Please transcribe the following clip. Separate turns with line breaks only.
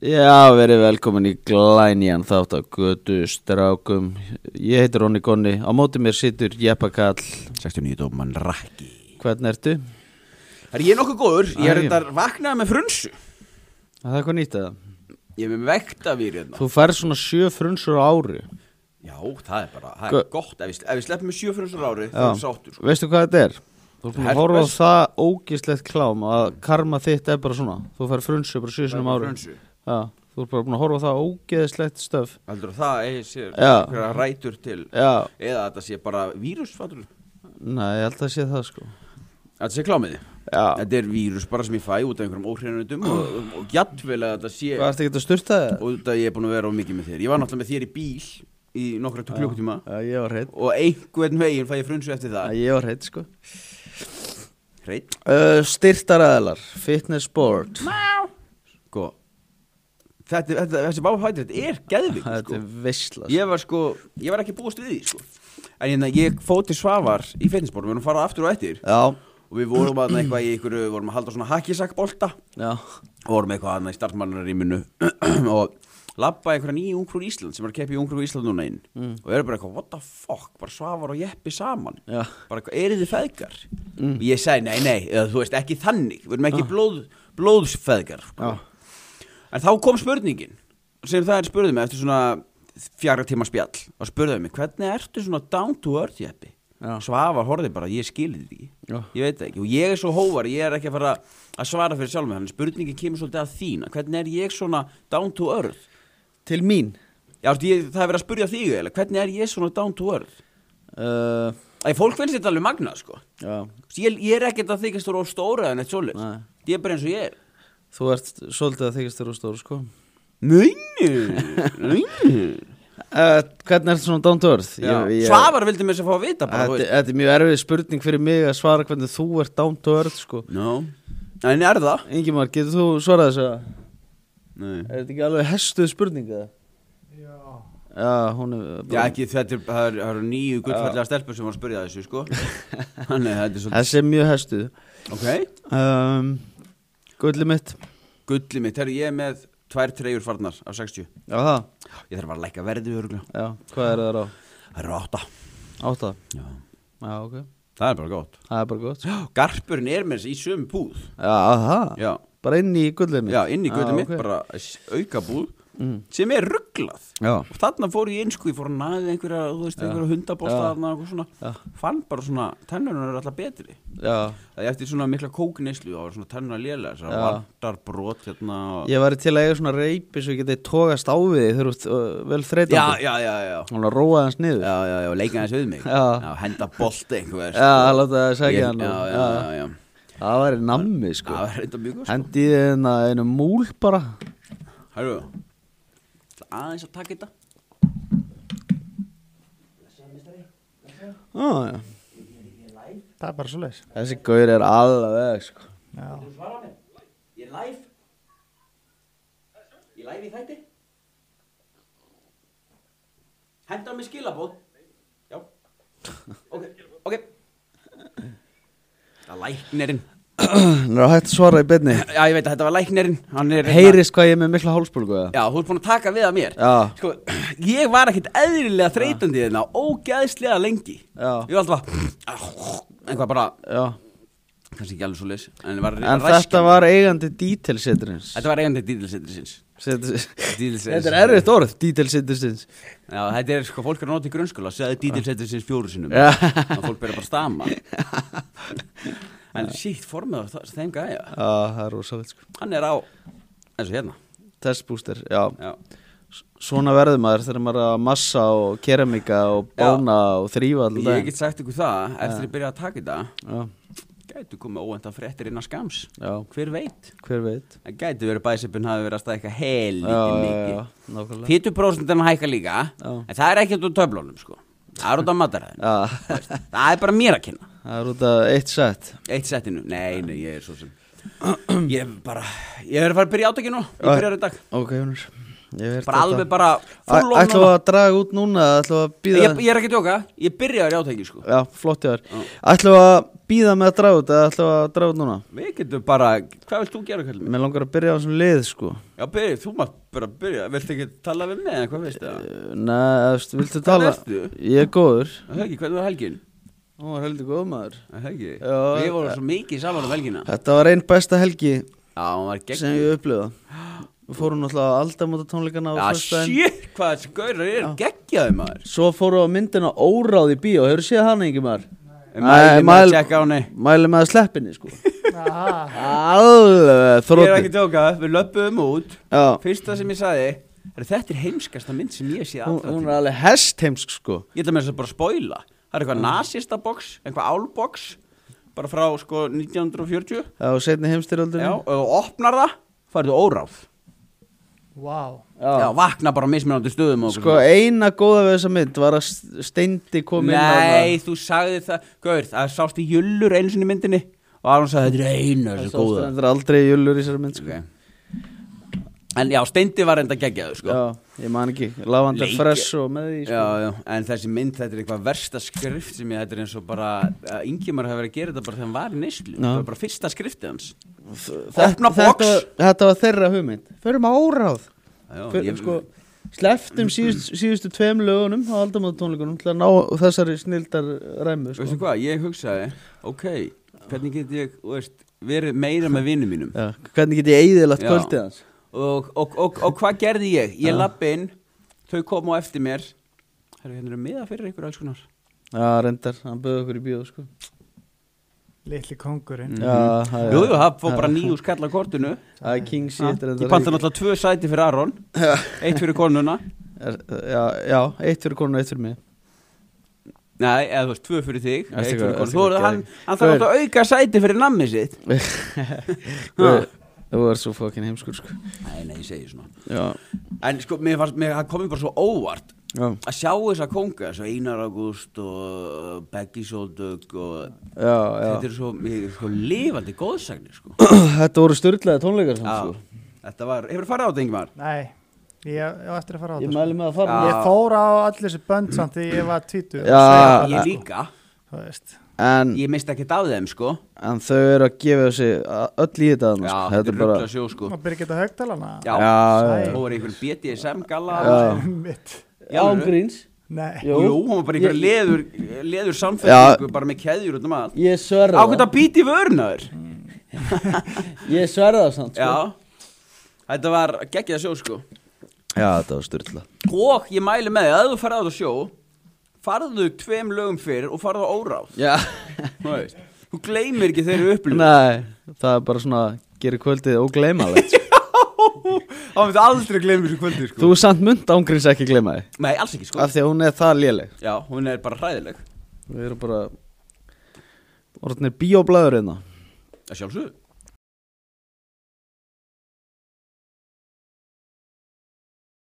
Já, verið velkomin í glænjan þátt á götu strákum Ég heitir Ronny Gonni, á móti mér situr Jeppa Kall
69 dóman rakki
Hvern ertu?
Það er ég nokkuð góður, ég
Æ,
er
ég-
þetta vaknaði með frunsu
Að Það er hvað nýtt að það
Ég er með vektavýr hérna
Þú færð svona sjö frunsur á ári
Já, það er bara, það er
Gö-
gott Ef við, ef við sleppum með sjö frunsur ári, þá
Já.
er sáttur sko.
Veistu hvað þetta er? Þú erum að horfa á
Herpes.
það ógislegt klám að karma þitt er bara svona Þú færð frunsu bara sjö sinum
Færð
ári
frunsu.
Já, þú erum bara búin að horfa á það ógislegt stöf
Heldur það eigi sér
Já.
einhverja rætur til
Já,
Eða þetta sé bara vírus, fattur
nei, ég held að sé það sko
Þetta sé klámiði
Já.
Þetta er vírus bara sem ég fæ út af einhverjum óhreinundum Og, og jættvel að þetta sé
Hvað ertu ekki að styrta það?
Út af ég er búin að vera á mikið með þér Ég var náttúrulega með þér í bíl í nokkra klukkutíma
Ég var hreitt
Og einhvern veginn fæ ég frunsu eftir það
Ég var hreitt sko
Hreitt
Uh, Styrtaræðalar, fitness board
sko þetta, þetta, þessi báfætir, þetta er geðvik
Þetta
sko.
er veistla sko.
ég var sko, ég var ekki búist við því sko. en hérna, ég fóð til Svavar í fitnessbórum, við erum farað aftur og eftir
Já,
og við vorum að eitthvað í einhverju, við vorum að halda svona hakkisakbolta
já,
og vorum eitthvað aðna í startmannaríminu og labba einhverja nýja ungrúr Ísland sem er að keppa í ungrúr Ísland núna inn
Mm.
og eru bara eitthvað, what the fuck, bara Svavar og Jeppi saman
Já.
bara eitthvað, eru þið feðgar
Mm.
og ég sagði, nei, nei, eða, þú veist, ekki þannig við erum ekki blóð, blóðsfeðgar
Ah. Já.
en þá kom spurningin sem það er spurðið mig eftir svona fjara tíma spjall og spurðið mig, hvernig ertu svona down to earth, Jeppi
Já.
Svavar horfið bara, ég skilði því
Já.
ég veit það ekki, og ég er svo hóvar ég er ekki að fara að svara fyrir sjálf mig þannig spurningin kemur svolítið að þín hvernig er ég svona down to earth
til mín
Já, veistu, ég, það er verið að spurja þig eiginlega, hvernig er ég svona down to earth
uh,
Æ, fólk finnst þetta alveg magnað sko
Já,
Þú veist, ég, ég er ekkert að þykast þú á stóra en eitt svolít
Nei.
ég er bara eins og ég er
þú ert svolítið að þykist þér úr stóru sko
Neini, neini
uh, Hvernig ertu svona down to earth? Ég- ég-
Svavar vildi mér þess að fá að vita bara, þú
Þetta
veist.
þetta er mjög erfið spurning fyrir mig að svara hvernig þú ert down to earth sko
No. En er það?
Ingimar, getur þú svarað þess að
Nei.
Er þetta ekki alveg hestuð spurning eða? Já Já, hún er
Já, ekki, þetta er, það eru- það eru nýju gullfallega stelpur sem var að spyrja þessu, sko. Þannig, að þetta er svolítið.
Þessi er mjög hestuð
Ok.
um, Gulli mitt
Gulli mitt, herru, ég er með tvær treyjur farnar af 60.
Já, það,
Ég þarf bara að lækka verðið örgulega.
já, hvað er það á?
Það eru átta.
Átta
Já.
Já, ok,
Það er bara gott.
það er bara gott sko. Já,
Garpurinn er með þessi í sömu búð.
aha,
Já.
bara inn í gullið mitt
Já, inn í gullið
Ah,
mitt,
ok. Mm.
bara auka búð, sem er rugglað.
Já,
Og þarna fór ég inn, sko, ég fór að naðið einhverja, þú veist, einhverja
Já.
hundabósta þarna og eitthvað svona. Fann bara svona, tennunum er alltaf betri.
já,
Það er eftir svona mikla kókneislu og svona tennu að lélega þessar
Já.
vartar brot hérna og...
ég var til að eiga svona reipi svo ég getið tókast á við þig þegar þú ert uh, vel
Já,
þreytandi
já, já, já
Hún að róa hans niður
Já, já, já, leika hans við mig
Já.
henda bolti einhver
Já, láta það sækja hann
sko. Já,
og-
já,
já.
já, já
Það væri nammi sko
Það er reynda mjög góð
Hendi þið hérna einu múl bara
Hæru Aðeins að taka þetta
Já, já Það er bara svo leis Þessi gaur er alveg sko
Þú svara mér Ég er live Ég er live í þætti Henda mér skilabóð Já Ok, ok Það er læknirinn
Nú er hægt að svara í beinni
Já, ég veit að þetta var læknirinn Hann er
Heyrist hvað ég er með mikla hálsbólgu eða?
Já, þú ert búin að taka við að mér
Já.
Sko, ég var ekkit eðlilega þreytandi þeirna Ógeðslega lengi
Já.
Ég var alltaf Einhvað bara
Já
Kannski ekki alveg svo leys En, var
En
ræskjandi.
þetta var eigandi dítilsetrins
Þetta var eigandi dítilsindrisins Dítilsindrisins.
Þetta er erfitt orð, dítilsetrins
Já, þetta er sko Fólk er að nota í grunnskóla Segði dítilsindrisins fjóru sinum
Já.
Og fólk byrja bara að stama En sítt formið á þa- þeim gæja
Já, það er rosalegt sko
Hann er á Eins og hérna
Testbúster, já
Já
S- Svona verður maður þegar maður er að massa og keramika og
Já.
bóna og þrýfa alltaf
Ég get sagt ykkur það Eftir ég byrja að taka þetta
Já,
Gætu komið óvenda fréttir innan skams
já,
Hver veit?
hver veit
Það gæti verið bæsipin hafi verið að stækka helviti
Já, já, já,
mikið
nákvæmlega
Títuprosentin hækka líka
Já.
En það er ekkert úr töflunum sko Það er út af mataræðinu
Já,
Það er bara mér að kynna
það er út af eitt sett
Eitt settinu Nei, nei, ég er svo sem Ég er bara Ég er að fara að byrja átökinu Ég
Já.
byrjar í dag
Ok, Jónur Ég hef heyrt
bara
þetta.
alveg bara full on
Ætlum við að draga út núna eða ætlum við að
ég,
býða
ég er ekki að djóka, ég byrjaði rjátengi sko
Já, flott hjá þér Ætlum við að býða með að draga út eða ætlum við að draga út núna
Við getum bara, hvað vilt þú gera kallum?
Mér langar að byrja á þessum lið sko
Já, byrja, þú mátt bara byrja, viltu ekki tala við mig eða hvað veistu það?
Nei, eftir, viltu tala?
ertu?
Ég er góður
Það er ekki, hvernig var helgin?
Hún var heldur góð maður
Það er ekki,
Já.
við vorum svo mikið saman um helgina Já,
Þetta var einn besta helgi
hún var
sem
geggjur
ég upplifa Við fórum náttúrulega á aldamóta tónleikana á
Já,
föstudaginn
Ah, shit, hvað þessi gaurar eru geggjaði maður
Svo fórum við á myndina óráð í bíó Hefur séð hana yngi maður?
Ég mæli með að checka á henni.
Mæli með að sleppinni sko
Ah,
Alveg
Ég er ekki
þrótti
að djóka, við löpum út
Já.
Fyrsta sem ég sagði, "Herra, þetta er heimskasta mynd sem ég sé
Hún,
allra
hún
tíma
er alveg hestheimsk sko
Ég ætla með þess að bara spoila Það er eitthvað nasista box, eitthvað álbox Bara frá sko 1940
Já, og setni heimstyrjöldunni
Já, og þú opnar það, færðu óráð
wow.
Já, vakna bara á mismunandi stöðum og
Sko
eitthvað
eina góða við þessa mynd var að S- Steindi kom inn
Nei, þú sagði það Gaur, það sást í jullur einu sinni í myndinni Og Aron sagði þetta er einu
Það
þessu
sástu
góða
hendur aldrei jullur í þessari mynd sko.
okay. En já, Steindi var enda geggjaðu sko.
Já, ég man ekki Lavandar
Leiki-
Fresh og með því sko.
já, já, en þessi mynd, þetta er eitthvað versta skrift sem ég, þetta er eins og bara Ingemar hefur verið að gera þetta bara þegar hann var í neyslu
Já.
Bara- Bara fyrsta skriftið hans
Þe-
Opna
þetta
box.
var- Þetta var þeirra hugmynd Förum á óráð
Já,
Fyr,
ég-
sko, Sleftum síðust, síðustu tveim lögunum á aldamóta tónleikunum til að ná þessari snildar ræmu
Veistu
sko.
hvað, ég hugsaði, ok, hvernig get ég, þú veist, verið meira með vinnum mínum
Já, Hvernig get ég eigðilagt
Já.
kvöldið hans
og, og, og, og hvað gerði ég? Ég lapp inn, þau komu á eftir mér, herru, hérna eru miða fyrir ykkur alls konar.
Já, reyndar, hann bauði okkur í bíó sko.
Litli kongurinn
Já, já, já.
Mhm. Jú, jú, það fór bara nýju skall á kortinu,
Það er King Seat
ég panta náttúrulega tvö sæti fyrir Aron, eitt fyrir konuna,
já, já, eitt fyrir konu og eitt fyrir mig
nei, eða þú veist, tvö fyrir þig,
Ertu
eitt
eitthvað-
fyrir
ertu
konuna, þú
eitthvað
voru hann,
gegn-
hann þarf
Gaur.
náttúrulega að auka sæti fyrir nammið sitt.
Guð, Þú er svo fokkin heimskur sko.
Nei, nei, ég segi svona.
Já,
En sko, mér fannst, mér, það komið bara svo óvart
já,
að sjá þessa konga þess að Einar Ágúst og Beggi Sóldögg og
já,
þetta er svo, mér, er svo lifandi góðsagnir sko.
Þetta voru styrlaði tónleikar samt, sko.
Já, þetta var, hefur farið á þetta yngvar?
Nei, ég ég á eftir að fara á
Ég
þetta
mæli
sko.
með að fara
Mm. Já.
Ég fór á allir þessi bönd samt því ég var tvítur
Já.
Ég líka,
sko, Þú veist
en,
ég misti ekkert af þeim sko
en þau eru að gefa þessi a- öll í þetta þarna,
Já,
sko.
þetta er ruggla sjó sko
Og Birgitta Haugdalana
Já,
Já, já, já.
hún var einhvern BDSM galla
Já.
Mitt
Já, án gríns
Nei
Jú.
Jú, hún var bara einhver
Ég-
leður, leður samfélningu bara með keðjur út um allt
Ég sverða
Á hvernig að býti vörnaður
Ég sverða það samt Mm, sko.
Já, þetta var geggjað sjó sko
já, þetta var styrla
Og ég mæli með því að ef þú farið á þetta sjó Farðu tveim lögum fyrir og farðu á óráð
Já,
Þú veist, Þú gleymir ekki þeirri upplýð
nei, það er bara svona gerir kvöldið ógleymalegt sko.
Það myndi aldrei gleyma þessu kvöldi sko
Þú samt mynd án gríns ekki gleyma því
Nei, alls ekki sko
Af því að hún er það léleg
Já, hún er bara hræðileg
Við erum bara Orðinir bíóblæður einna
Það sjálfsög